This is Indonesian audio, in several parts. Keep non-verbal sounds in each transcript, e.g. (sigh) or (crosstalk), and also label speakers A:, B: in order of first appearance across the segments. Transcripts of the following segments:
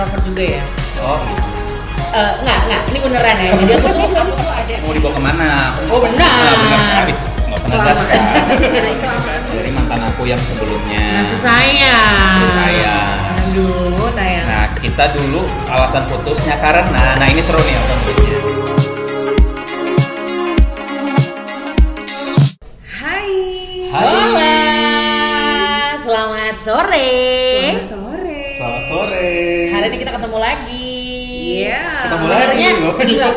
A: Eh, juga ya
B: oh gitu.
A: Eh, nggak nggak ini beneran ya jadi aku tuh aku tuh ada
B: mau dibawa kemana
A: Oh, benar.
B: Nah, benar sekali nggak usah ngegas kan
C: Kelamaan.
B: dari mantan aku yang sebelumnya
A: nasib saya
B: Nasib saya.
C: Aduh,
A: ya.
C: tayang.
B: nah kita dulu alasan putusnya karena nah ini seru nih alasan putusnya
C: Hai.
B: Hai.
A: Hola selamat sore Eh?
C: Selamat sore.
B: selamat sore
A: hari ini kita ketemu lagi
C: Iya.
B: Ketemu lagi.
A: sebenarnya
B: loh.
A: enggak.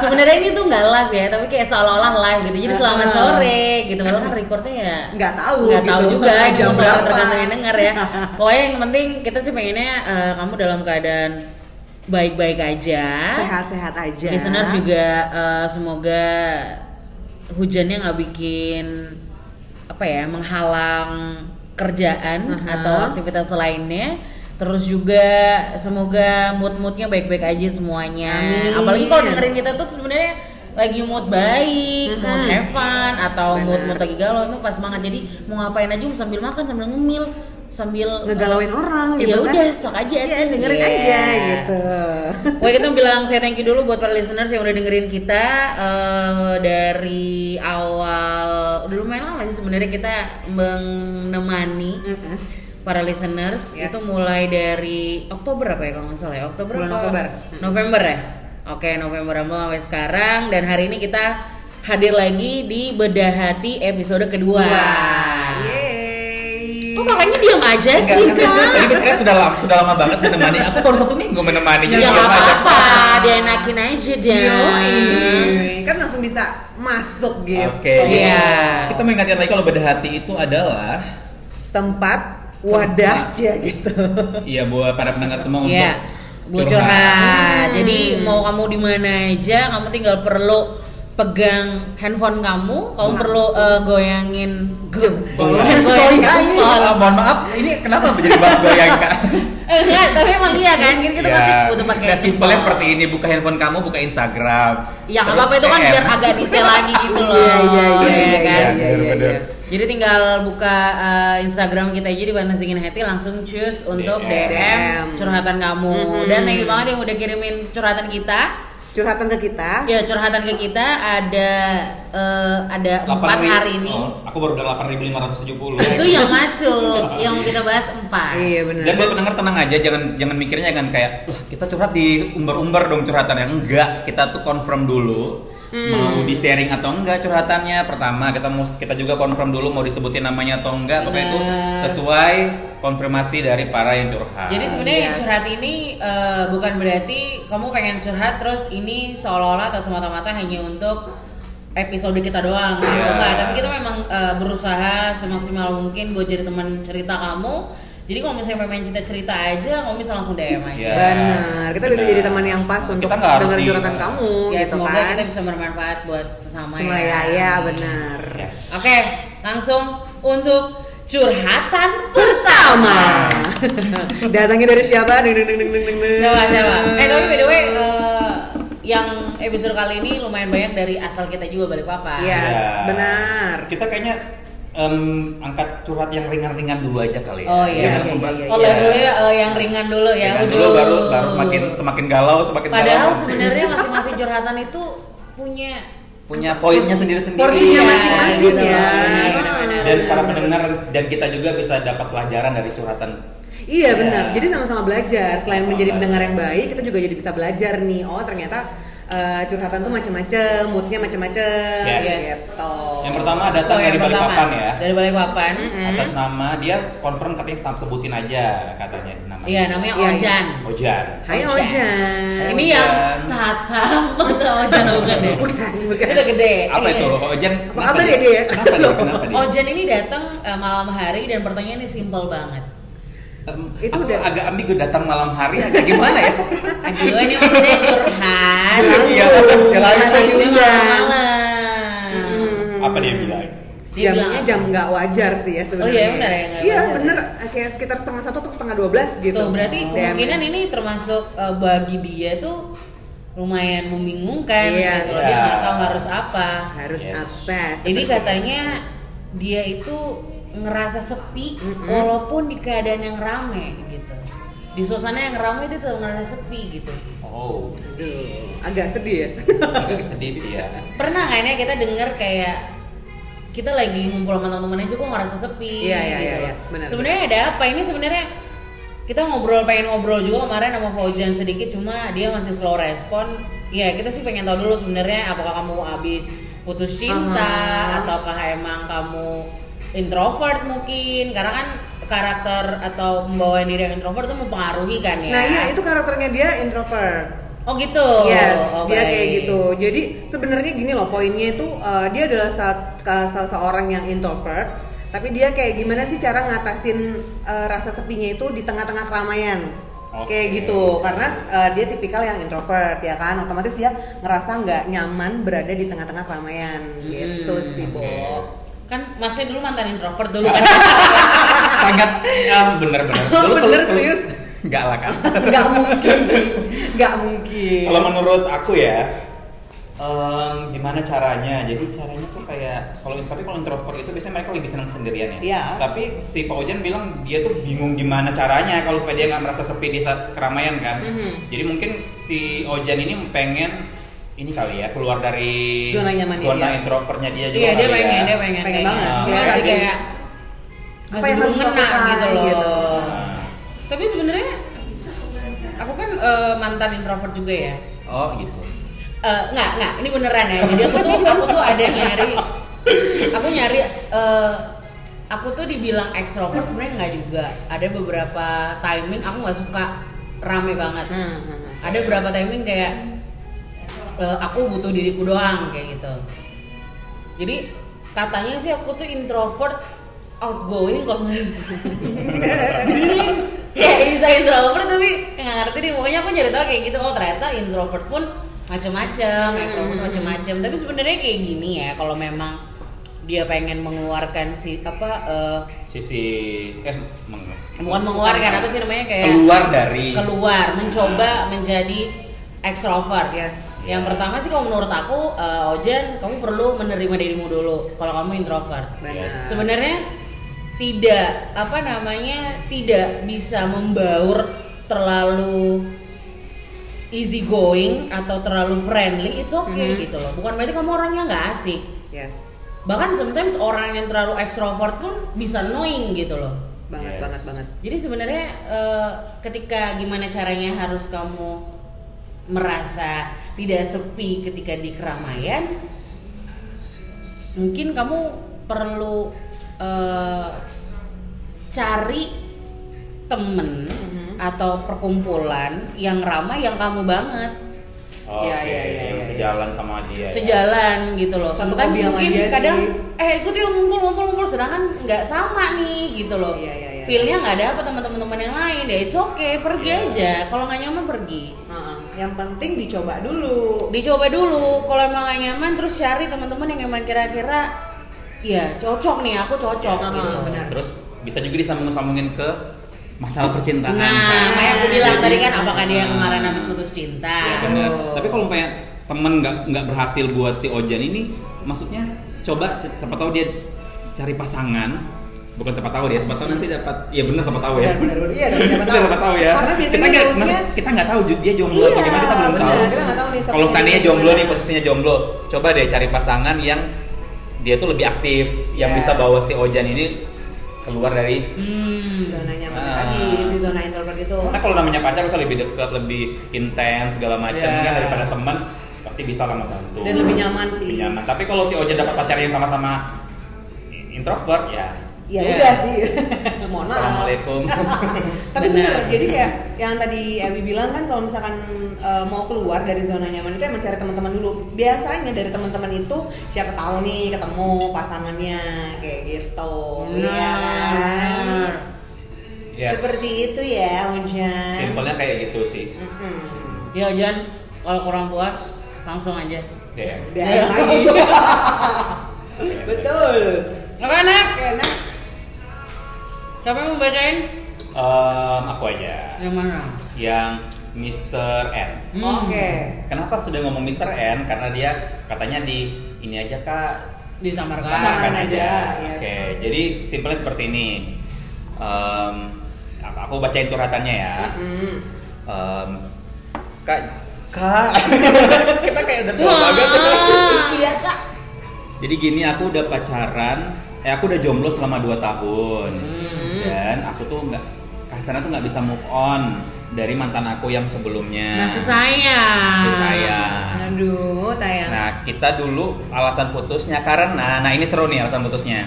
A: sebenarnya ini tuh nggak live ya tapi kayak seolah-olah live gitu jadi selamat
C: Ah.
A: sore gitu padahal kan recordnya ya
C: Nggak tahu.
A: nggak tahu
C: gitu. (laughs)
A: juga
C: jam berapa.
A: tergantung yang denger
C: (laughs)
A: ya pokoknya yang penting kita sih pengennya eh, kamu dalam keadaan baik-baik aja
C: Sehat-sehat aja.
A: listeners juga eh, semoga hujannya nggak bikin apa ya menghalang kerjaan
C: Aha.
A: atau aktivitas lainnya terus juga semoga mood-moodnya baik-baik aja semuanya
C: Amin.
A: apalagi kalau dengerin kita tuh sebenarnya lagi mood baik, mood
C: Mhm.
A: have fun atau
C: Benar.
A: mood mood lagi galau itu pas semangat jadi mau ngapain aja sambil makan sambil ngemil sambil
C: ngegalauin orang gitu
A: ya
C: kan.
A: udah sok aja
C: Iya,
A: Tin.
C: dengerin
A: Iya.
C: aja gitu.
A: Pokoknya kita bilang saya thank you dulu buat para listeners yang udah dengerin kita eh, dari awal udah lumayan lama sih sebenarnya kita menemani
C: Mm-mm.
A: para listeners
C: Yes.
A: itu mulai dari Oktober apa ya kalau nggak salah ya Oktober
C: Bulan
A: apa?
C: Oktober.
A: November ya oke November sampai sekarang dan hari ini kita hadir lagi di bedah hati episode kedua
C: Wah. Yeay.
A: kok kakaknya diam aja
B: Enggak,
A: sih
B: enggak.
A: kak
B: Tadi Fitria sudah lama, sudah lama banget menemani. Aku baru satu minggu menemani.
A: Ya
B: Jadi
A: nggak
B: belum ada.
A: apa-apa, dia enakin aja dia.
C: Yoi. Kan langsung bisa masuk gitu.
B: Oke.
A: Iya.
B: Kita mengingatkan lagi kalau bedah hati itu adalah
C: Tempat wadah aja gitu.
B: Iya buat para pendengar semua untuk
A: Iya, buat curhat. Jadi mau kamu di mana aja, kamu tinggal perlu pegang handphone kamu, kamu perlu eh, goyangin
B: Jempol.
A: goyangin
C: Goyangin.
A: jempol.
B: Ah, mohon maaf, ini kenapa menjadi bahas goyang kak?
A: Eh, Enggak, tapi emang iya kan, kita kita pasti butuh pakai.
B: Nah, simpelnya
A: jempol.
B: seperti ini, buka handphone kamu, buka Instagram.
A: Ya nggak
B: Terus
A: apa-apa itu kan
B: DM.
A: biar agak detail lagi gitu loh.
C: Iya, iya, iya,
A: ya kan?
B: Iya, bener-bener.
A: Jadi tinggal buka eh, Instagram kita aja di Panas Dingin Hati langsung choose untuk
B: DM.
A: DM, curhatan kamu.
C: Mhm.
A: Dan thank you banget yang udah kirimin curhatan kita.
C: Curhatan ke kita.
A: Ya curhatan ke kita ada eh, ada empat
B: 8.000.
A: hari ini.
B: Oh, aku baru bilang 8570.
A: Itu yang masuk, yang kita bahas empat.
C: Iya benar.
B: Dan buat pendengar tenang aja, jangan jangan mikirnya kan kayak "Lah, kita curhat di umbar-umbar dong curhatannya. Enggak, kita tuh confirm dulu
A: Hmm.
B: mau di sharing atau enggak curhatannya. Pertama, kita mau kita juga confirm dulu mau disebutin namanya atau enggak. Pokoknya itu
A: Bener.
B: sesuai konfirmasi dari para yang curhat.
A: Jadi sebenarnya yang
C: Yes.
A: curhat ini eh, bukan berarti kamu pengen curhat terus ini seolah-olah atau semata-mata hanya untuk episode kita doang gitu
B: Iya.
A: enggak, tapi kita memang eh, berusaha semaksimal mungkin buat jadi teman cerita kamu. Jadi kalau misalnya memang cerita-cerita aja, kamu bisa langsung DM aja.
B: Iya.
C: Benar. Kita bisa
B: Benar.
C: jadi teman yang pas untuk
B: Kita nggak harus
C: dengerin
B: di-
C: curhatan kamu
A: Ya,
C: gitu
A: semoga
C: kan.
A: kita bisa bermanfaat buat sesama
C: Semuanya ya benar.
B: Yes.
A: Oke, langsung untuk curhatan (laughs) pertama.
C: Nah, Datangnya dari siapa? Ding, ding, ding, ding, ding, ding, ding.
A: Coba coba. Eh tapi by the way, eh, yang episode kali ini lumayan banyak dari asal kita juga balik papa.
C: Iya. Yes,
B: Ya.
C: benar.
B: Kita kayaknya em, angkat curhat yang ringan-ringan dulu aja kali.
A: Oh, iya,
B: Biar
C: iya,
B: sumbat.
C: iya, iya.
A: Oh levelnya eh, yang ringan dulu ya.
B: Ringan
A: Udah.
B: dulu baru baru semakin semakin galau, semakin
A: Padahal
B: galau. (laughs)
A: sebenarnya masing-masing curhatan itu punya
B: punya poinnya sendiri-sendiri.
C: Porsinya
A: Iya,
C: masing-masing
A: gitu
C: ya.
A: loh. Benar-benar.
B: dan para pendengar dan kita juga bisa dapat pelajaran dari curhatan Ya.
C: Iya benar. Jadi sama-sama belajar. Selain
B: Sama-sama
C: menjadi
B: belajar.
C: pendengar yang baik, kita juga jadi bisa belajar nih. Oh ternyata eh, curhatan tuh macam-macam, moodnya macam-macam.
B: Yes.
C: Gitu.
B: yang pertama datang
A: So, yang
B: dari
A: pertama,
B: Balikpapan ya
A: Dari balik papan.
B: atas
C: Hmm?
B: nama dia confirm katanya sam sebutin aja katanya namanya
A: Iya namanya
C: Iya, iya.
A: Ojan.
B: Ojan
C: Hai
A: Ojan.
C: Ojan.
A: Ini
B: Ojan.
A: yang Tata (laughs) atau Ojan bukan ya?
C: Bukan, bukan.
A: Udah gede.
B: apa
A: Iya.
B: itu Ojan
C: Apa kabar ya dia?
B: kenapa dia kenapa dia
A: Ojan Oh, ini datang eh, malam hari dan pertanyaannya simple banget.
B: Em,
C: Itu
B: aku
C: udah-
B: agak ambigu datang malam hari agak gimana ya
A: Aduh, ini maksudnya
C: (laughs)
A: curhat.
B: Iya, ya lain
A: Hari ini
C: diundang.
A: malam-malam.
B: (laughs)
C: Hmm.
B: apa dia bilang
A: Dia bilang
C: jamnya
A: apa?
C: jam nggak wajar sih ya sebenarnya.
A: iya, benar ya, nggak
C: Iya
A: wajar.
C: benar. Kayak sekitar setengah satu atau setengah dua belas gitu.
A: Tuh, berarti
C: Damn.
A: kemungkinan ini termasuk eh, bagi dia tuh lumayan membingungkan.
C: Iya,
A: gitu. Dia
B: iya.
A: nggak tahu harus apa.
C: harus
B: Yes.
C: apa?
A: Jadi
C: seperti-
A: katanya dia itu ngerasa sepi
C: Mm-mm.
A: walaupun di keadaan yang rame gitu. di suasana yang ramai dia tuh ngerasa sepi gitu
B: Oh,
C: Aduh, agak sedih ya.
A: Iya.
B: agak sedih sih ya.
A: pernah nggak ini kita dengar kayak kita lagi ngumpul sama teman-teman aja kok ngerasa sepi
C: Iya, iya,
A: gitu
C: iya,
A: loh.
C: iya. Benar,
A: sebenarnya ada apa ini sebenarnya kita ngobrol pengen ngobrol juga kemarin sama Fauzian sedikit cuma dia masih slow respon ya kita sih pengen tahu dulu sebenarnya apakah kamu abis putus cinta
C: Aha.
A: ataukah emang kamu introvert mungkin karena kan karakter atau pembawaan diri yang introvert itu mempengaruhi kan ya
C: Nah iya itu karakternya dia introvert.
A: oh gitu
C: yes,
A: Oh,
C: dia
A: baik.
C: kayak gitu. Jadi sebenarnya gini loh poinnya itu eh, dia adalah saat, ke- salah seorang yang introvert, tapi dia kayak gimana sih cara ngatasin eh, rasa sepinya itu di tengah-tengah keramaian.
B: Oke.
C: Kayak gitu, karena eh, dia tipikal yang introvert ya kan, otomatis dia ngerasa nggak nyaman berada di tengah-tengah keramaian gitu
A: Hmm,
C: sih, Bo.
A: kan masnya dulu mantan introvert
C: (laughs)
A: dulu kan
B: Sangat em, bener-bener. Dulu kalau-
C: Oh, Bener,
B: kalau-
C: serius?
B: Enggak lah kan.
C: (laughs) Nggak mungkin sih, nggak mungkin.
B: Kalau menurut aku ya, em, gimana caranya? Jadi caranya tuh kayak kalau tapi kalau introvert itu biasanya mereka lebih senang sendirian ya.
C: Iya.
B: Tapi si Fauzan bilang dia tuh bingung gimana caranya kalau supaya dia nggak merasa sepi di saat keramaian kan.
C: Mhm.
B: Jadi mungkin si Ojan ini pengen ini kali ya keluar dari
C: Zona nyamannya
B: zona
C: dia.
B: introvertnya dia juga.
A: Iya dia
B: kali ya.
A: pengen, dia pengen,
C: Pengen
A: kayaknya.
C: banget.
A: Cuma
B: Iya,
A: sih
B: tapi-
A: kayak
C: Apa
A: masih
C: yang
A: belum
C: harus
A: ngena
C: dilakukan,
A: gitu loh.
C: gitu.
B: Nah,
A: Tapi sebenarnya aku kan eh, mantan introvert juga ya.
B: Oh gitu.
A: Eh, nggak nggak, ini beneran ya. Jadi aku tuh aku tuh ada nyari, aku nyari. eh, aku tuh dibilang extrovert sebenarnya nggak juga. Ada beberapa timing aku nggak suka rame banget.
C: Hmm, hmm, hmm.
A: Ada beberapa timing kayak eh, aku butuh diriku doang kayak gitu. Jadi katanya sih aku tuh introvert outgoing kalau nggak salah. Jadi dia ya bisa introvert tapi nggak ngerti nih pokoknya aku jadi tahu kayak gitu oh ternyata introvert pun macam-macam extrovert macam-macam tapi sebenarnya kayak gini ya kalau memang dia pengen mengeluarkan si apa eh,
B: Sisi eh meng-
A: bukan mengeluarkan apa sih namanya kayak
B: Oh, keluar dari
A: keluar mencoba menjadi extrovert
C: Yes.
A: yang pertama sih kalau menurut aku eh, Ojan kamu perlu menerima dirimu dulu kalau kamu introvert
C: Benar.
B: Yes.
A: sebenarnya tidak apa namanya tidak bisa membaur terlalu easy going atau terlalu friendly it's okay gitu loh bukan berarti kamu orangnya nggak asik
C: Yes,
A: bahkan sometimes orang yang terlalu extrovert pun bisa annoying gitu loh
C: banget
B: Yes.
C: banget banget.
A: jadi sebenarnya eh, ketika gimana caranya harus kamu merasa tidak sepi ketika di keramaian, mungkin kamu perlu eh, cari temen atau perkumpulan yang ramai yang kamu banget
B: Oh, Oke,
C: Iya, iya, iya,
B: yang
C: iya,
B: sejalan sama dia. ya.
A: sejalan gitu loh.
C: Satu
A: Sometimes
C: hobi sama
A: mungkin
C: dia sih.
A: kadang eh ikut yuk ngumpul ngumpul ngumpul sedangkan nggak sama nih gitu loh.
C: Iya, iya, iya.
A: Feelnya nggak ada apa teman teman yang lain ya it's okay pergi
B: Iya.
A: aja kalau nggak nyaman pergi
C: Heeh. Yang penting dicoba dulu.
A: dicoba dulu kalau emang nggak nyaman terus cari teman-teman yang emang kira-kira ya cocok nih aku cocok
C: Iya,
A: gitu
C: benar.
B: Terus bisa juga disambung-sambungin ke masalah percintaan.
A: nah
C: Nah,
A: kayak aku bilang
B: jadi- nah.
A: tadi kan apakah dia kemarin habis putus cinta
B: Ya, bener.
C: Oh.
B: Tapi kalau kayak temen nggak nggak berhasil buat si Ojan ini, maksudnya coba c- siapa tahu dia cari pasangan. Bukan siapa tahu dia, siapa tahu nanti dapat. Ya bener siapa tahu ya.
C: Benar, benar, benar. Iya, dong, siapa
B: Kita (laughs)
C: tahu.
B: siapa tahu ya.
C: Karena
B: kita
C: biasanya
B: nggak
C: harusnya-
B: maksud- kita nggak tahu ju- dia jomblo
C: Iya,
B: atau gimana kita belum
C: benar,
B: tahu.
C: kita nggak tahu nih
B: Kalau
C: statusnya
B: seandainya
C: dia
B: jomblo
C: gimana.
B: nih posisinya jomblo, coba deh cari pasangan yang dia tuh lebih aktif, yang
C: Yes.
B: bisa bawa si Ojan ini keluar dari
A: hmm.
C: zona nyaman
B: Ah.
C: tadi di zona introvert itu
B: Karena kalau namanya pacar bisa lebih dekat, lebih intens segala macam
A: Ya.
B: kan daripada teman pasti bisa lah membantu.
C: Iya. dan lebih nyaman
B: Lebih
C: sih.
B: nyaman. Tapi kalau si Oja dapat pacar yang sama-sama introvert ya.
C: Ya
A: Iya.
C: udah
B: (laughs)
C: sih. Mohon maaf.
B: Assalamualaikum.
C: (laughs)
B: (laughs)
C: Tapi benar,
A: Benar.
C: jadi kayak yang tadi Ewi bilang kan kalau misalkan eh, mau keluar dari zona nyaman itu emang cari teman-teman dulu. Biasanya dari teman-teman itu siapa tahu nih ketemu pasangannya kayak gitu. Iya kan?
A: Benar.
B: Nah. Yes.
C: Seperti itu ya, Unjan.
B: Simpelnya kayak gitu sih.
C: Mm-mm.
A: ya Jan kalau kurang puas langsung aja
B: DM.
C: Udah
A: Iya.
C: lagi.
B: (laughs)
C: Betul.
A: (laughs) oke next
C: Oke, nah.
A: siapa yang mau bacain
B: Em, aku aja
A: yang mana
B: yang Mr. N.
A: Hmm.
C: Oke.
B: Kenapa sudah ngomong Mr. N? Karena dia katanya di ini aja kak
A: disamarkan
B: Samakan
C: Samakan
B: aja.
C: aja, yes.
B: Oke, jadi simpelnya seperti ini. Em, aku aku bacain curhatannya ya
C: Mm.
B: Em, kak kak (laughs) kita kayak udah tua
A: Wah.
B: banget
C: Iya kak.
B: jadi gini aku udah pacaran eh aku udah jomblo selama 2 tahun
A: Hmm.
B: dan aku tuh nggak kasarnya tuh nggak bisa move on dari mantan aku yang sebelumnya
A: Nah, saya.
B: Kasih sayang.
C: Aduh, tayang.
B: Nah, kita dulu alasan putusnya karena nah ini seru nih alasan putusnya.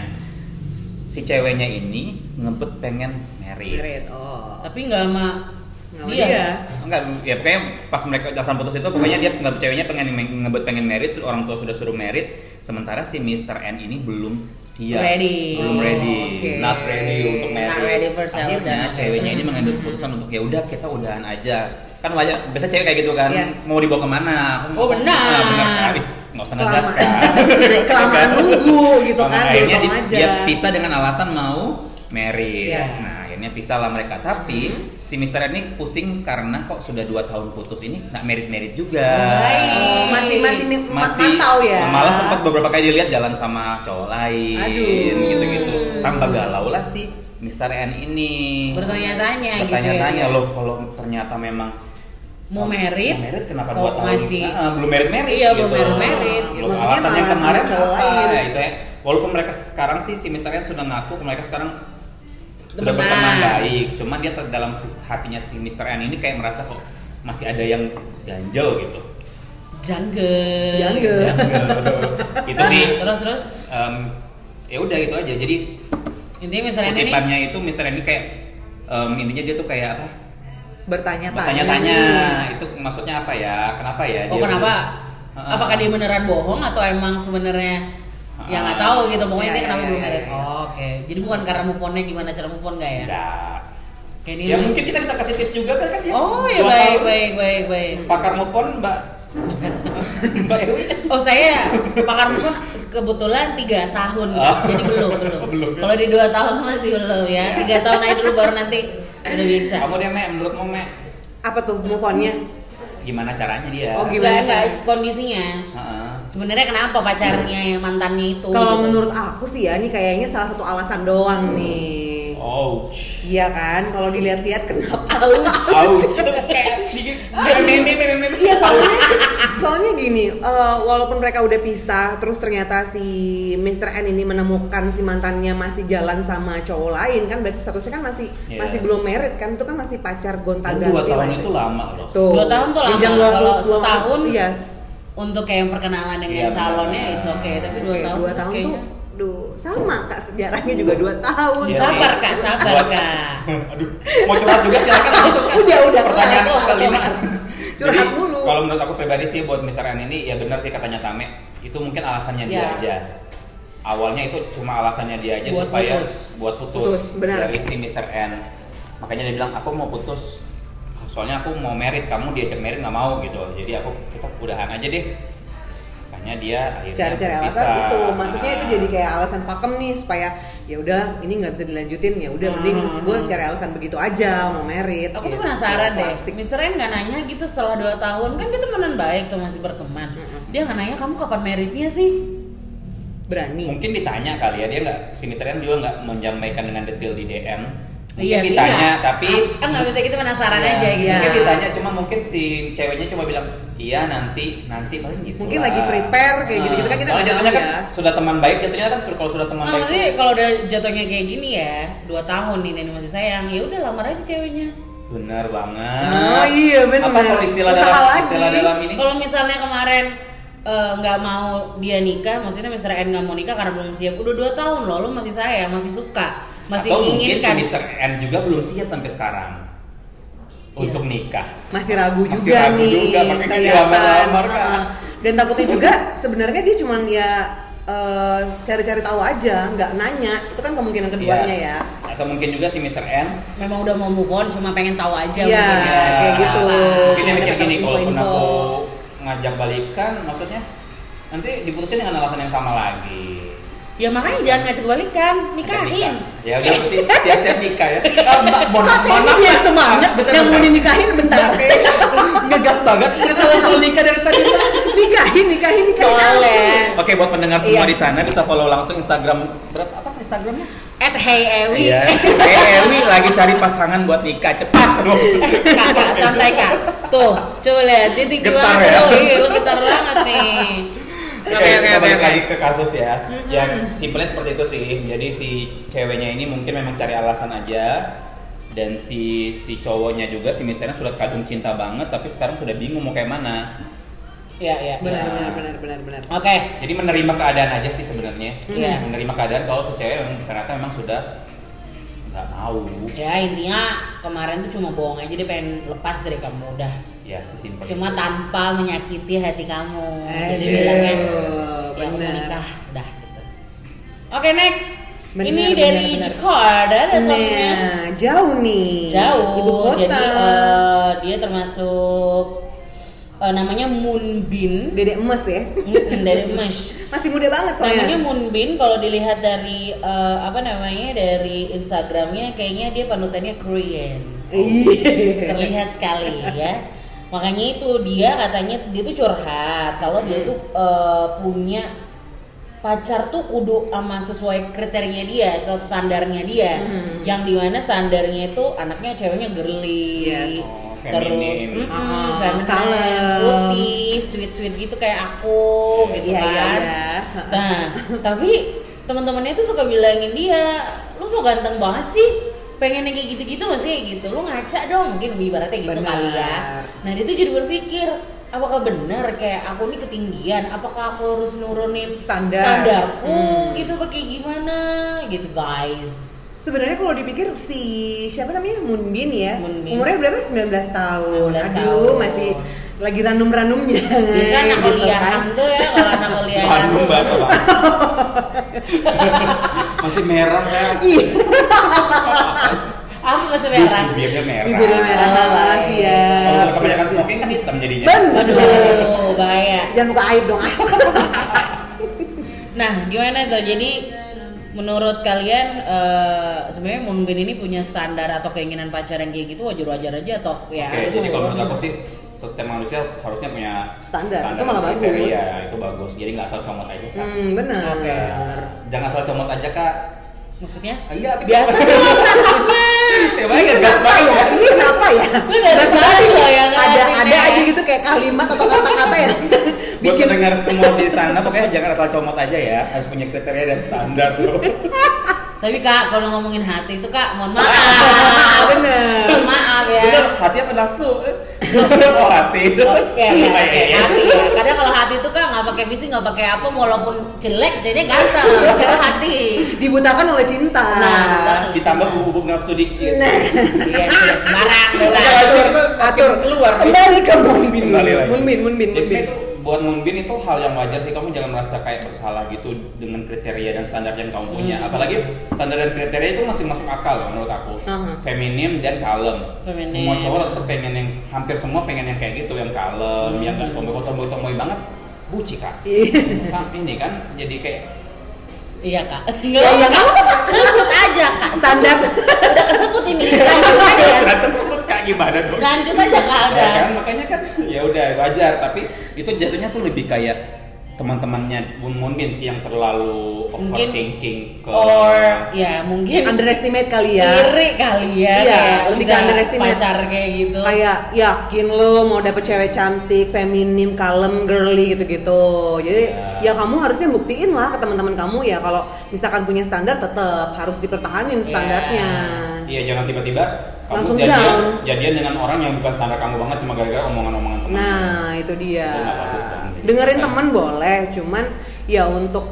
B: Si ceweknya ini ngebet pengen married.
C: Merit, Oh.
A: Tapi nggak sama
C: Nggak sama
A: dia.
C: dia.
B: Enggak, ya pokoknya pas mereka alasan putus itu pokoknya dia nggak ceweknya pengen ngebet pengen married, orang tua sudah suruh married, sementara si Mr. N ini belum siap.
A: Ready.
B: Belum
C: Oh,
B: ready.
C: oke.
B: Not ready untuk married.
A: Not ready for sale,
B: Akhirnya
A: udah.
B: ceweknya ini mengambil keputusan untuk ya udah kita udahan aja. Kan wajar, biasa cewek kayak gitu kan,
C: Yes.
B: mau dibawa kemana?
A: Oh, benar.
B: Ah, benar kali. Nggak usah ngegas
C: Kelamaan. (laughs)
B: kan. (laughs)
C: Kelamaan nunggu gitu
B: Sama
C: kan,
B: akhirnya
C: dihitung
B: di-
C: aja.
B: dia pisah dengan alasan mau married
C: Yes. Hmm.
B: nah akhirnya pisah lah mereka tapi si Mister ini pusing karena kok sudah dua tahun putus ini nggak merit merit juga
A: Baik.
C: Oh, masih masih masih
B: masih
C: tahu ya.
B: malah sempat beberapa kali dilihat jalan sama cowok lain
C: Aduh.
B: gitu-gitu tambah galau lah si Mister N ini
A: Bertanya-tanya gitu ya
B: bertanya-tanya
A: dia.
B: loh kalau ternyata memang
A: Mau married?
B: Mau Oh, merit kenapa
A: kok
B: dua tahun?
A: masih
B: Ah, belum merit merit.
A: Iya, belum gitu. merit-merit.
B: Belum
C: Maksudnya
B: alasan yang
C: malah
B: kemarin
C: sama hal
B: apa
C: lain.
B: itu ya. Walaupun mereka sekarang sih si Mr. N sudah ngaku mereka sekarang sudah
A: Temenan.
B: berteman baik. Cuman dia ter- dalam sis- hatinya si Mr. N ini kayak merasa kok masih ada yang ganjel gitu.
A: jungle.
C: Jungle.
B: itu sih
A: Terus terus
B: em, ya udah itu aja. Jadi
A: intinya misalnya ini
B: kutipannya itu Mr. N ini kayak em, intinya dia tuh kayak apa?
C: Bertanya-tanya.
B: Bertanya-tanya itu maksudnya apa ya? Kenapa ya?
A: Oh
B: dia-
A: kenapa?
B: Ah. ah,
A: Apakah dia beneran bohong atau emang sebenarnya yang nggak tahu gitu pokoknya
C: Ya,
A: dia
C: ya,
A: kenapa
C: ya,
A: belum
C: ya,
A: married?
C: ya.
A: Oh, Oke, jadi bukan karena move on-nya gimana cara move on nggak ya?
B: Enggak.
A: Kayak ini.
B: Ya mungkin kita bisa kasih tips juga kan ya.
A: Oh ya
B: Dua
A: baik
B: tahun.
A: baik baik baik.
B: Pakar move on
A: (laughs)
B: Mbak Mbak Ewi.
A: Oh saya pakar move on kebetulan tiga tahun,
B: Oh.
A: jadi belum belum.
B: (laughs) Belum, ya.
A: Kalau di dua tahun masih belum ya,
B: (laughs) Ya.
A: tiga tahun aja dulu baru nanti udah bisa.
B: Kamu deh Mek, menurutmu Mek
C: Apa tuh move on-nya?
B: gimana caranya dia?
C: Oh,
A: Gak,
C: gimana caranya?
A: kondisinya.
B: Heeh.
A: Sebenarnya kenapa pacarnya yang mantannya itu?
C: Kalau
A: gitu?
C: menurut aku sih ya, ini kayaknya salah satu alasan
B: Hmm.
C: doang nih.
A: (laughs)
B: Ouch.
C: Iya kan, kalau dilihat-lihat kenapa?
B: Ouch. Kayak dikit. Meme meme meme meme.
C: Iya soalnya, soalnya gini, eh, walaupun mereka udah pisah, terus ternyata si Mr. N ini menemukan si mantannya masih jalan sama cowok lain kan, berarti statusnya kan masih
B: Yes.
C: masih belum merit kan, itu kan masih pacar
B: Kan
C: gonta-ganti.
B: dua tahun
C: lah.
B: itu lama loh.
C: Tuh.
A: Dua tahun tuh lama,
C: Jenjang dua-
A: kalau
C: dua-
A: setahun
C: yes.
A: untuk kayak perkenalan
B: Iya,
A: dengan
B: benar.
A: calonnya it's okay tapi dua
C: Oke,
A: tahun
C: dua
A: terus
C: tahun tuh,
A: kayaknya-
C: duh sama kak sejarahnya juga dua tahun.
B: Iya
C: Sama.
A: sabar kak sabar
B: Buat-
A: kak
B: (laughs) Aduh, mau curhat juga
A: (laughs)
B: silakan.
C: Udah, udah, kelar,
B: Pertanyaan
C: kelar,
B: kelima.
C: kelar. Curhat
B: Jadi,
C: mulu.
B: Kalau menurut aku pribadi sih buat Mr. N ini ya benar sih katanya Tame, itu mungkin alasannya dia
C: Ya.
B: aja. Awalnya itu cuma alasannya dia aja
A: Buat
B: supaya
A: putus.
B: buat putus,
C: Putus, benar.
B: dari si Mr. N. Makanya dia bilang aku mau putus. Soalnya aku mau merit, kamu diajak merit nggak mau gitu. Jadi aku kita udahan aja deh. Makanya dia akhirnya
C: cari-cari alasan
B: berpisah.
C: itu maksudnya itu
B: Nah.
C: jadi kayak alasan pakem nih supaya ya udah ini nggak bisa dilanjutin ya udah mending
A: Hmm.
C: gue cari alasan begitu aja mau merit
A: aku tuh
B: Iya,
C: gitu.
A: penasaran deh
C: Plastik.
A: Mr. N nggak nanya gitu setelah dua tahun kan dia temenan baik tuh masih berteman dia nggak nanya kamu kapan meritnya sih
B: Nah,
C: berani
A: Hmm.
B: mungkin ditanya kali ya dia nggak si Mr. Yan juga nggak menyampaikan dengan detail di DM mungkin
A: Iya sih,
B: ditanya
A: nggak.
B: tapi
A: ah nggak bisa gitu penasaran
B: Iya,
A: aja gitu
B: mungkin
C: Iya.
B: ditanya cuma mungkin si ceweknya cuma bilang iya nanti nanti paling gitu
C: Mungkin
B: lah. Nah,
C: lagi prepare kayak gitu-gitu kan kita
B: soalnya
C: nggak tahu
B: jatuhnya kan
C: ya.
B: sudah teman baik jatuhnya kan kalau sudah teman
A: Nah,
B: baik
A: maksudnya kalau udah jatuhnya kayak gini ya, dua tahun nih Neni masih sayang, ya udah lamar aja ceweknya.
B: benar banget
C: Oh, iya, benar.
B: apa kalau istilah
C: Usaha
B: dalam
C: lagi.
B: istilah dalam ini
A: Kalau misalnya kemarin eh, nggak mau dia nikah, maksudnya Mr. N nggak mau nikah karena belum siap. Udah dua tahun loh, lo masih sayang, masih suka, masih
B: atau mungkin si
A: menginginkan.
B: Mr. N juga belum siap sampai sekarang
A: Iya.
B: untuk nikah
C: masih ragu
B: Masih
C: juga
B: ragu
C: nih
B: juga, makanya dia
C: kelihatan.
B: lamar-lamar, Kak.
C: Heeh. dan takutnya juga sebenarnya dia cuman ya eh, cari-cari tahu aja nggak nanya itu kan kemungkinan keduanya
B: Iya.
C: ya
B: atau mungkin juga si Mr. N
A: Memang udah mau move on, cuma pengen tahu aja.
C: Iya,
A: mungkin ya.
C: kayak gitu.
A: Kenapa?
B: mungkin dia mikir
C: Dapat
B: gini kalaupun
C: info-info.
B: aku ngajak balikan maksudnya nanti diputusin dengan alasan yang sama lagi
A: Ya makanya jangan ngajak balikan, nikahin.
B: Nikah. ya udah berarti siap-siap nikah ya Ah, mbak mohon
C: kok kayaknya dia
A: kan? Ah,
C: semangat
B: Bentar,
C: yang mau
B: bentar.
C: dinikahin bentar
A: (laughs)
B: Oke. ngegas banget kita langsung nikah dari tadi Mbak.
C: nikahin nikahin nikahin
A: Soalnya
B: oke buat pendengar
A: Iya.
B: semua di sana bisa follow langsung Instagram berapa apa Instagramnya
A: At Hey Ewi.
B: Iya. Eh, Ewi lagi cari pasangan buat nikah cepat lu.
A: Kakak santai kak. Tuh, coba lihat dia tinggi
B: Getar
A: banget
B: ya.
A: tuh. Iya, lu getar banget nih. Oke
B: Oke,
A: oke
B: kita
A: oke.
B: balik
A: oke.
B: lagi ke kasus ya. Yang simpelnya seperti itu sih. Jadi si ceweknya ini mungkin memang cari alasan aja dan si si cowoknya juga si misalnya sudah kadung cinta banget tapi sekarang sudah bingung mau kayak mana.
A: Iya iya. iya.
C: benar benar benar benar benar
A: Oke.
B: Jadi menerima keadaan aja sih sebenarnya.
A: Iya.
B: Menerima keadaan kalau si cewek memang ternyata memang sudah nggak mau.
A: Ya intinya kemarin tuh cuma bohong aja dia pengen lepas dari kamu udah.
B: Ya, sesimpel.
A: Cuma
B: itu.
A: tanpa menyakiti hati kamu. Jadi
C: Aduh,
A: bilangnya ya aku mau
C: benar.
A: nikah udah gitu. Oke next.
C: Benar,
A: Ini
C: benar,
A: dari
C: benar.
A: Jakarta datangnya.
C: Nah, jauh nih.
A: jauh
C: Ibu kota.
A: jadi eh, dia termasuk eh, namanya Moonbin
C: Dedek emas
A: (laughs)
C: ya.
A: Mm-mm, dari Mesh
C: Masih muda banget soalnya.
A: namanya Moonbin kalau dilihat dari eh, apa namanya dari Instagramnya kayaknya dia panutannya Korean
C: Iya.
A: terlihat sekali ya makanya itu dia katanya dia tuh curhat kalau dia tuh eh, punya pacar tuh kudu sama sesuai kriterianya dia atau standarnya dia
C: Hmm.
A: yang dimana standarnya itu anaknya ceweknya girly
C: Yes.
B: Oh,
A: terus
B: feminim.
A: mm,
C: Ah,
A: feminine,
C: kalem.
A: putih sweet sweet gitu kayak aku gitu
C: Iya, iya,
A: kan
C: iya.
A: nah tapi teman-temannya tuh suka bilangin dia lu so ganteng banget sih pengen yang kayak gitu-gitu gak sih gitu lu ngaca dong mungkin ibaratnya gitu
C: Benar.
A: kali ya nah dia tuh jadi berpikir apakah benar kayak aku ini ketinggian apakah aku harus nurunin
C: Standar.
A: standarku
C: Hmm.
A: gitu pakai gimana gitu guys
C: Sebenarnya kalau dipikir si siapa namanya Moonbin ya.
A: Moonbin.
C: Umurnya berapa? 19 tahun.
A: 19
C: Aduh,
A: tahun.
C: masih lagi random-randomnya.
A: biasa anak
C: Gitu
A: kuliahan
C: kan.
A: tuh ya kalau anak kuliahan
B: Bandung bahasa
C: (laughs)
B: Bandung. Masih merah ya.
C: Iya,
A: apa masih merah
B: Bibirnya
A: kan?
B: merah.
C: Bibirnya merah ya. lah,
A: Oh,
B: Kalau
C: siap.
B: sudah kebanyakan smoking kan hitam jadinya.
C: Ben-
A: Waduh, bahaya.
C: Jangan buka aib
B: (laughs)
C: dong. ah.
A: Nah, gimana tuh? Jadi menurut kalian eh, sebenarnya Moonbin ini punya standar atau keinginan pacar yang kayak gitu wajar-wajar aja atau ya?
C: Iya.
B: Oke, jadi kalau menurut aku sih setiap manusia harusnya punya
C: Standar, itu malah
B: dan
C: bagus.
B: kriteria, Iya, itu bagus. Jadi nggak asal comot aja kak. Iya.
C: Hmm, benar.
A: Oke.
B: Jangan asal comot aja kak.
A: Maksudnya?
B: Iya,
A: Biasa
B: (laughs)
A: dong nasabnya.
B: Ya baik,
C: Ini
B: gas
C: kenapa ya?
B: (laughs) banget.
C: Ini kenapa ya?
A: Lu dari tadi loh yang
C: ada
A: ngelakuin
C: ada
A: ya.
C: aja gitu kayak kalimat atau kata-kata yang
B: Buat
C: bikin (laughs)
B: pendengar semua di sana, pokoknya jangan asal comot aja ya. Harus punya kriteria dan standar loh.
A: Tapi kak, kalau ngomongin hati itu kak, mohon
C: Ah,
A: maaf.
C: bener.
A: Mohon maaf ya.
B: Bener, hati apa nafsu? oh hati.
A: Oke,
B: Iya,
A: oke, oke,
B: iya.
A: hati ya. Kadang kalau hati itu kak nggak pakai fisik, nggak pakai apa, walaupun jelek, jadi ganteng. Itu hati.
C: Dibutakan oleh cinta.
A: Nah, betul.
B: iya. Ditambah bubuk-bubuk nafsu dikit.
C: Nah,
A: Iya, sudah sembarang. tuh,
B: Udah,
A: Kak.
B: atur, atur keluar.
C: kembali ke Moonbin.
B: Kembali lagi.
C: Moonbin, Moonbin,
B: Jadi
C: Moonbin.
B: sebenarnya itu buat Moonbin itu hal yang wajar sih kamu jangan merasa kayak bersalah gitu dengan kriteria dan standar yang kamu punya.
A: Hmm.
B: Apalagi standar dan kriteria itu masih masuk akal menurut aku.
C: Aha.
B: Feminim dan kalem.
A: Feminim.
B: Semua cowok tetap pengen yang hampir semua pengen yang kayak gitu yang kalem, yang gak tomboy-tomboy banget. Buci kak.
C: Iya.
B: Sampai ini kan jadi kayak
A: Iya kak.
C: Ya,
A: Enggak,
C: ya,
A: kak. Sebut aja kak.
C: Standar.
A: Udah kesebut ini.
C: Iya.
A: Lanjut aja.
B: Ternyata sebut kak gimana dong?
A: Lanjut aja kak
B: Ya
C: Iya
A: udah.
B: kan makanya kan ya udah wajar tapi itu jatuhnya tuh lebih kayak teman-temannya Moon Moonbin sih yang terlalu
A: Mungkin-
B: overthinking ke
A: Or ya mungkin
C: Underestimate kali ya.
A: iri kali ya.
C: Iya,
A: kayak
C: lebih
A: bisa
C: ke underestimate.
A: Pacar kayak gitu.
C: Kayak yakin lo mau dapet cewek cantik, feminim, kalem, girly gitu-gitu. Jadi
B: Ya.
C: ya kamu harusnya buktiin lah ke teman-teman kamu ya kalau misalkan punya standar tetap harus dipertahanin standarnya.
B: iya jangan tiba-tiba kamu
C: Langsung
B: jadian
C: down.
B: jadian dengan orang yang bukan standar kamu banget cuma gara-gara omongan-omongan teman (laughs)
C: Nah, itu dia.
B: Itu nggak bagus dong.
C: Dengerin teman boleh, cuman ya untuk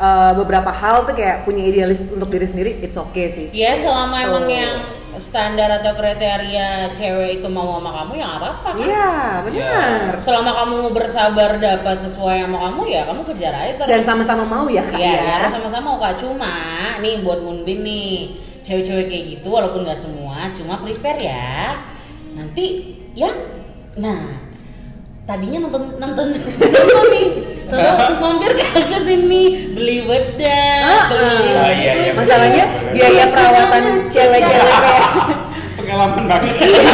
C: uh, beberapa hal tuh kayak punya idealis untuk diri sendiri, it's okay sih.
A: Ya selama
C: Tuh.
A: emang yang standar atau kriteria cewek itu mau sama kamu ya nggak apa-apa kan.
C: Iya, benar.
A: Selama kamu mau bersabar dapat sesuai sama kamu ya kamu kejar aja
B: Iya.
A: terus.
C: Dan sama-sama mau ya, Kak
A: Iya,
C: ya.
A: kita sama-sama kak. Cuma nih buat Moonbin nih, cewek-cewek kayak gitu walaupun nggak semua, cuma prepare ya. Nanti yang nah tadinya nonton nonton (laughs) nonton nih, nonton mampir ke ke sini beli bedak,
C: Ah,
A: beli
C: ah.
B: Oh, iya, iya,
C: Masalahnya
B: Bener.
C: biaya perawatan cewek-cewek kayak
B: pengalaman banget
A: Iya,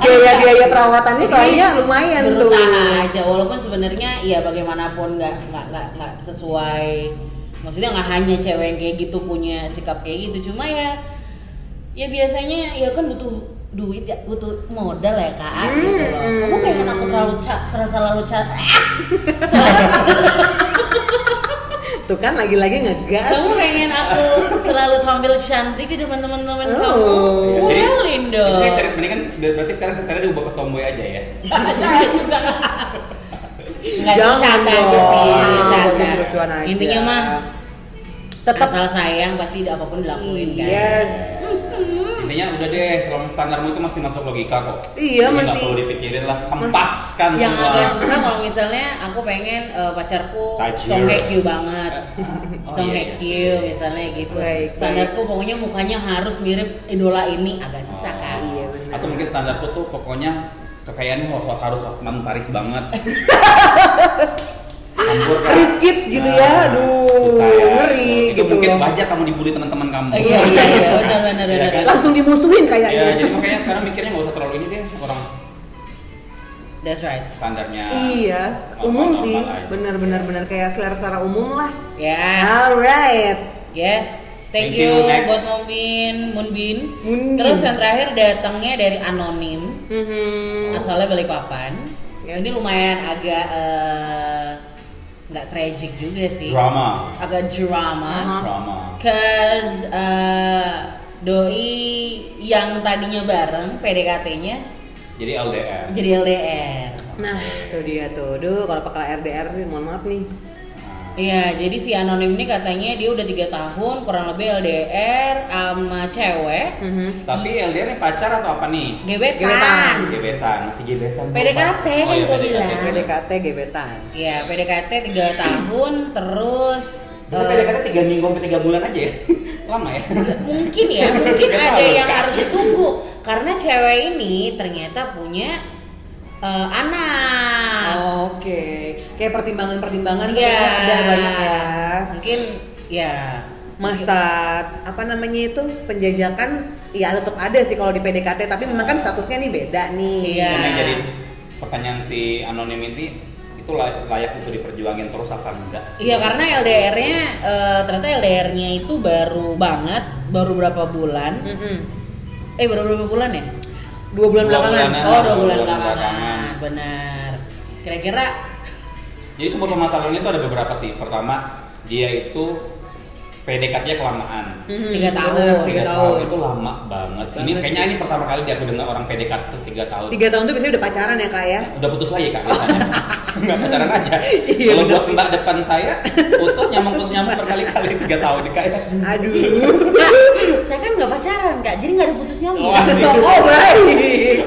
C: biaya-biaya perawatannya soalnya lumayan tuh.
A: berusaha aja walaupun sebenarnya ya bagaimanapun nggak nggak nggak nggak sesuai maksudnya nggak hanya cewek yang kayak gitu punya sikap kayak gitu cuma ya ya biasanya ya kan butuh duit ya butuh modal ya kak gitu loh
C: Hmm.
A: kamu pengen aku terlalu ca- terasa lalu cat
C: Tuh kan lagi-lagi ngegas.
A: kamu pengen aku selalu tampil cantik di depan teman-teman kamu
C: Oh.
A: modalin dong
B: Jadi cari- mendingan ber- berarti sekarang kriteria diubah ke tomboy aja ya.
A: (laughs) nggak itu canda aja
C: dong.
A: sih
C: Ah, buat
A: canda
C: lucu-lucuan aja.
A: intinya mah
C: tetap Iya.
A: asal sayang pasti apapun dilakuin kan
C: Yes.
A: Hmm.
B: Intinya udah deh, selama standarmu itu masih masuk logika kok. Jadi
C: Iya,
B: nggak
C: masih-
B: perlu dipikirin lah, hempaskan
A: yang
B: semua.
A: agak susah kalau misalnya aku pengen eh, pacarku
B: Tajir.
A: Song Hye Kyo (laughs) banget
B: Oh,
A: Song
B: iya,
A: Hye
B: iya.
A: Kyo misalnya gitu
C: Baik, baik.
A: standarku pokoknya mukanya harus mirip idola ini agak susah kan
C: Iya, benar.
B: Atau mungkin standarku tuh pokoknya kekayaannya harus harus Hotman Paris banget.
C: (laughs)
B: Campur kan?
C: Rich kids gitu ya,
B: Nah,
C: aduh,
B: susah ya.
C: ngeri
B: Itu
C: gitu
B: mungkin
C: loh.
B: wajar kamu dibully teman-teman kamu.
A: Iya, iya,
B: (laughs)
A: iya, benar, benar,
B: Iya
A: benar,
B: kan?
A: benar.
C: Langsung dimusuhin
B: Iya,
C: kayaknya.
B: jadi makanya sekarang mikirnya nggak usah terlalu ini deh orang
A: that's right
B: standarnya.
C: Iya,
B: Normal-
C: umum
B: normal
C: sih,
B: aja.
C: benar-benar benar kayak selera-selera umum lah.
A: ya
C: Alright,
A: yes Thank,
B: Thank
A: you,
B: you, next.
A: buat Moonbin, Moonbin.
C: Moonbin.
A: Terus yang terakhir datangnya dari anonim,
C: Mhm.
A: asalnya Balikpapan.
C: Yes.
A: Ini lumayan agak eh, nggak tragic juga sih,
B: Drama,
A: agak drama.
C: Aha.
B: drama.
A: Cause uh, doi yang tadinya bareng PDKT-nya
B: Jadi LDR.
A: jadi LDR.
C: nah itu dia tuh, duh kalau pakai LDR sih mohon maaf nih.
B: Nah,
A: Iya, jadi si anonim ini katanya dia udah tiga tahun kurang lebih LDR sama cewek
C: Mhm.
B: Tapi LDR nih pacar atau apa nih?
A: gebetan.
C: Gebetan.
B: Gebetan, masih gebetan.
A: PDKT kan
B: Oh, iya,
A: gua
B: PDKT.
A: bilang.
C: PDKT gebetan.
A: Iya, PDKT tiga tahun terus
B: Bisa
A: eh,
B: PDKT 3 minggu sampai 3 bulan aja ya? (laughs) Lama ya?
A: mungkin ya, mungkin
B: Gak
A: ada
B: tahu,
A: yang
B: Kak.
A: harus ditunggu karena cewek ini ternyata punya eh, anak.
C: Oke, kayak pertimbangan-pertimbangan tuh
A: Iya.
C: kayaknya ada banyak ya.
A: Mungkin ya
C: Masa apa namanya itu penjajakan ya tetap ada sih kalau di PDKT tapi memang kan statusnya nih beda nih.
A: Iya.
B: Yang jadi pertanyaan si anonymity itu lay- layak untuk diperjuangin terus apa enggak sih?
A: Iya karena LDR-nya eh, ternyata LDR-nya itu baru banget, baru berapa bulan?
C: Mhm.
A: Eh baru berapa bulan ya?
C: Nah, Dua bulan
B: Dua
C: belakangan.
B: bulanan.
A: oh dua bulan
B: bulan
A: belakangan,
B: belakangan.
A: benar. Kira-kira
B: Jadi sumber permasalahannya itu ada beberapa sih. Pertama, dia itu PDKT-nya kelamaan.
C: Mhm,
A: Tiga
C: benar,
A: tahun.
C: Tiga
B: Tiga
C: tahun.
B: itu lama banget. Ini
C: Banget
B: kayaknya
C: sih.
B: ini pertama kali dia aku dengar orang PDKT tuh tiga tahun.
C: Tiga tahun tuh biasanya udah pacaran ya kak ya.
B: udah putus lagi kak
C: (laughs)
B: biasanya nggak pacaran aja
C: Iya,
B: kalau
C: bener
B: buat
C: sih.
B: mbak depan saya putus nyamuk putus nyamuk berkali-kali tiga tahun nih kak ya
C: Aduh.
A: Kak, saya kan nggak pacaran kak, jadi nggak ada putus nyambung.
B: Wah, sih.
C: oh baik.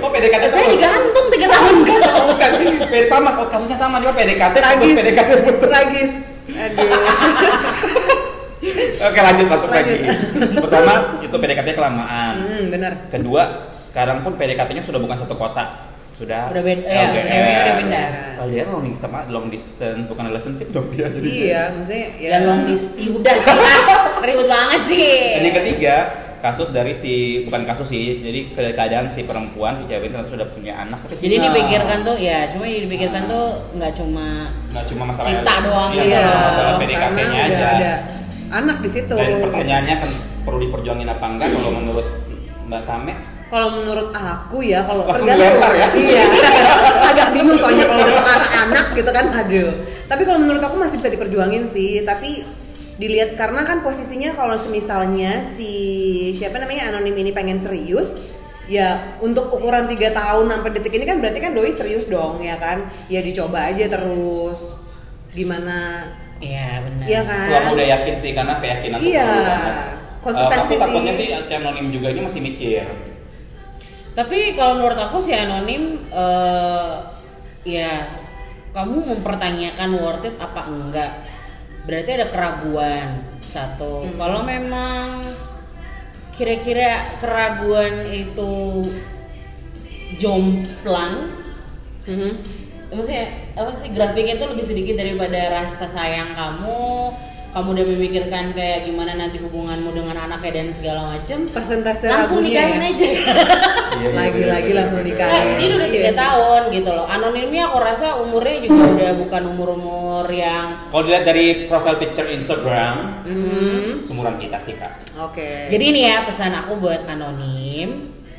B: oh PDKT
A: iya. saya
B: sama.
A: digantung tiga tahun kan? kak.
B: oh, bukan P- sama kok kasusnya sama juga PDKT putus
C: (laughs) Tragis.
B: PDKT putus
C: Tragis. Aduh.
B: oke lanjut masuk lagi
C: Lanjut.
B: pertama itu PDKT kelamaan
C: Hmm, benar.
B: kedua sekarang pun PDKT-nya sudah bukan satu kota sudah
A: Udah beda- iya, ceweknya udah pindah.
B: LDR Oh, long distance, long distance bukan relationship dong dia jadi
C: Iya, maksudnya ya.
A: Dan long dis, Ih, udah sih, Kak. ribut banget sih.
B: Dan yang ketiga, kasus dari si bukan kasus sih, jadi ke- keadaan si perempuan si cewek ini ternyata sudah punya anak. Nah. tapi
A: Jadi
B: single.
A: dipikirkan tuh, ya cuma yang dipikirkan tuh nggak cuma
B: nggak cuma masalah
A: Cinta doang ya.
B: iya, nggak cuma masalah
C: karena
B: PDKT-nya aja.
C: udah ada anak di situ.
B: Dan pertanyaannya kan perlu diperjuangin apa enggak kalau menurut Mbak Tame?
C: Kalau menurut aku ya, kalau
B: Langsung
C: tergantung.
B: dilempar ya? (laughs)
C: Iya. Agak bingung soalnya kalau udah ke arah anak gitu kan, aduh. Tapi kalau menurut aku masih bisa diperjuangin sih, tapi dilihat karena kan posisinya kalau semisalnya si siapa namanya anonim ini pengen serius ya untuk ukuran tiga tahun sampai detik ini kan berarti kan doi serius dong ya kan ya dicoba aja terus gimana
A: Iya benar.
C: ya kan
B: Selama udah yakin sih karena keyakinan tuh
C: Iya.
B: perlu banget.
C: Konsistensi
B: Eh, aku takutnya
C: sih.
B: sih si anonim juga ini masih
C: (laughs)
B: mikir.
A: Tapi kalau menurut aku si anonim eh ya kamu mempertanyakan worth it apa enggak. Berarti ada keraguan satu. Kalau memang kira-kira keraguan itu jomplang
C: Mhm.
A: maksudnya apa sih grafiknya tuh lebih sedikit daripada rasa sayang kamu kamu udah memikirkan kayak gimana nanti hubunganmu dengan anaknya dan segala macem
C: persentase
A: langsung
C: lagunya
A: nikahin
C: ya?
A: aja
B: Iya, Eh, iya,
C: Lagi-lagi
B: bener,
C: langsung
B: bener,
C: nikah.
A: Nah,
B: bener.
A: ini udah
C: Iya
A: tiga
C: sih.
A: tahun gitu loh anonimnya aku rasa umurnya juga udah bukan umur-umur yang
B: Kalau dilihat dari profile picture Instagram,
C: Mm-hmm.
A: mm,
B: seumuran kita sih
C: Iya,
B: kak.
C: Oke.
A: Jadi ini ya pesan aku buat anonim,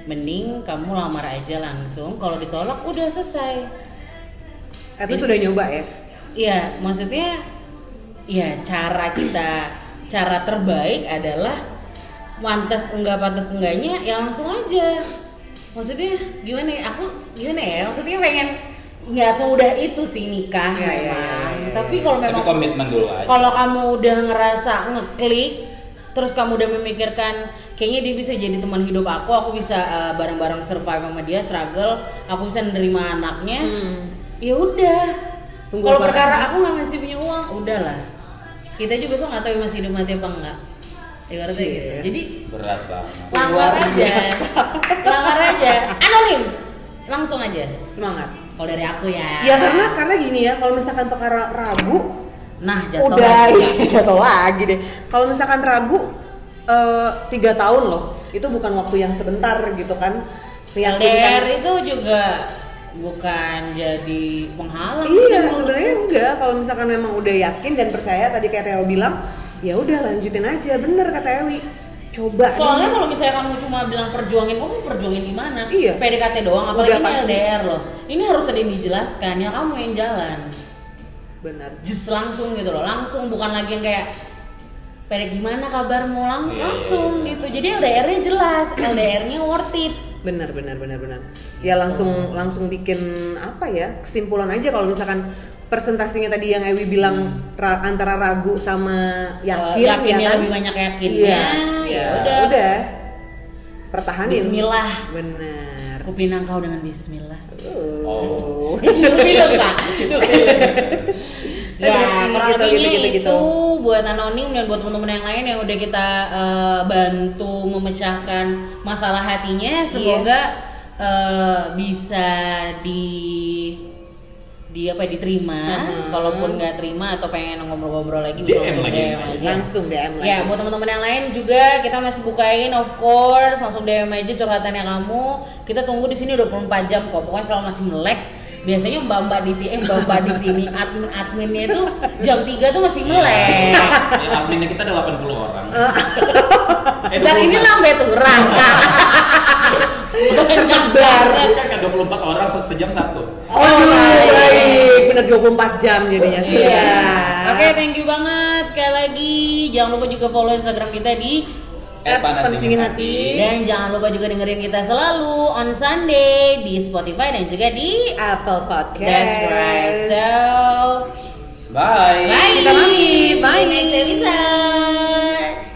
A: mending kamu lamar aja langsung. Kalau ditolak udah selesai.
C: Atlet sudah nyoba ya?
A: Iya, maksudnya ya cara kita cara terbaik adalah pantas enggak pantas enggaknya ya langsung aja. Maksudnya gimana ya? Aku gimana ya? Maksudnya pengen nggak semudah itu sih nikah
C: Ya, ya, ya,
A: memang.
C: ya, ya.
A: Tapi kalau
B: Tapi
A: memang
B: komitmen dulu aja.
A: kalau kamu udah ngerasa ngeklik terus kamu udah memikirkan kayaknya dia bisa jadi teman hidup aku aku bisa uh, bareng-bareng survive sama dia struggle aku bisa menerima anaknya ya udah
C: Hmm. Tunggu
A: kalau
C: apa?
A: perkara aku nggak masih punya uang udahlah kita juga besok nggak tahu masih hidup mati apa enggak ibaratnya
C: Shit.
A: gitu jadi
B: Berat banget.
A: lamar
C: Luar
A: aja (laughs) lamar aja anonim langsung aja
C: Semangat.
A: kalau dari aku ya
C: Ya karena karena gini ya, kalau misalkan perkara ragu,
A: nah jatuh
C: udah
A: lagi.
C: (laughs) iya, jatuh lagi deh. Kalau misalkan ragu eh, tiga tahun loh, itu bukan waktu yang sebentar gitu kan?
A: LDR
C: Meyakinkan.
A: itu juga bukan jadi penghalang
C: Iya,
A: sih.
C: sebenarnya enggak. Kalau misalkan memang udah yakin dan percaya tadi kayak Teo bilang, ya udah lanjutin aja. Bener kata Ewi. Coba.
A: Soalnya
C: dulu.
A: kalau misalnya kamu cuma bilang perjuangin, kamu perjuangin di mana?
C: Iya.
A: PDKT doang, apalagi
C: Udah
A: ini
C: pasti.
A: LDR loh. Ini harus ada yang dijelaskan, ya kamu yang jalan.
C: bener.
A: Just langsung gitu loh, langsung bukan lagi yang kayak Pede gimana kabarmu lang
B: Iya, iya,
A: langsung
B: iya.
A: gitu. Jadi LDR-nya jelas, LDR-nya worth it.
C: benar benar benar benar
A: Oh.
C: ya langsung langsung bikin apa ya kesimpulan aja kalau misalkan persentasenya tadi yang Ewi bilang ra- antara ragu sama
A: Hmm.
C: yakin,
A: Eh, yakinnya
C: ya kan?
A: lebih banyak yakinnya,
C: iya
A: ya
C: ya
A: udah.
C: udah pertahanin
A: Bismillah.
C: benar
A: Aku pinang kau dengan bismillah.
C: oh.
A: Judul film kak Judul film. ya
C: Tapi bener
A: kurang
C: sih, gitu,
A: lebihnya
C: gitu, gitu, gitu.
A: itu buat anonim dan buat teman-teman yang lain yang udah kita eh, bantu memecahkan masalah hatinya
C: Iya.
A: semoga eh, bisa di di apa diterima
C: Mhm.
A: kalaupun nggak terima atau pengen ngobrol-ngobrol lagi bisa
B: DM
A: langsung
B: lagi.
A: DM aja
C: langsung DM lagi
A: Ya, buat teman-teman yang lain juga kita masih bukain of course, langsung DM aja curhatannya kamu. Kita tunggu di sini 24 jam kok. Pokoknya selalu masih melek. Biasanya mbak-mbak di sini, eh, mbak-mbak di sini admin-adminnya itu jam 3 tuh
B: Iya.
A: masih melek.
B: Ya, adminnya kita ada 80
C: (laughs)
B: orang. Eh,
A: Dan ini lambe turang, Kak. Iya.
C: tersebar
B: Kan kan 24 orang se- sejam satu.
C: oh baik bener 24 jam
A: Iya.
C: jadinya sudah.
A: Oke, thank you banget sekali lagi. Jangan lupa juga follow Instagram kita di
B: Eh,
C: Eh, panas dingin hati.
A: dan jangan lupa juga dengerin kita selalu on Sunday di Spotify dan juga di
C: Apple Podcast
A: That's right. So
B: Bye.
A: Bye.
C: Kita pamit. Bye.
A: See you next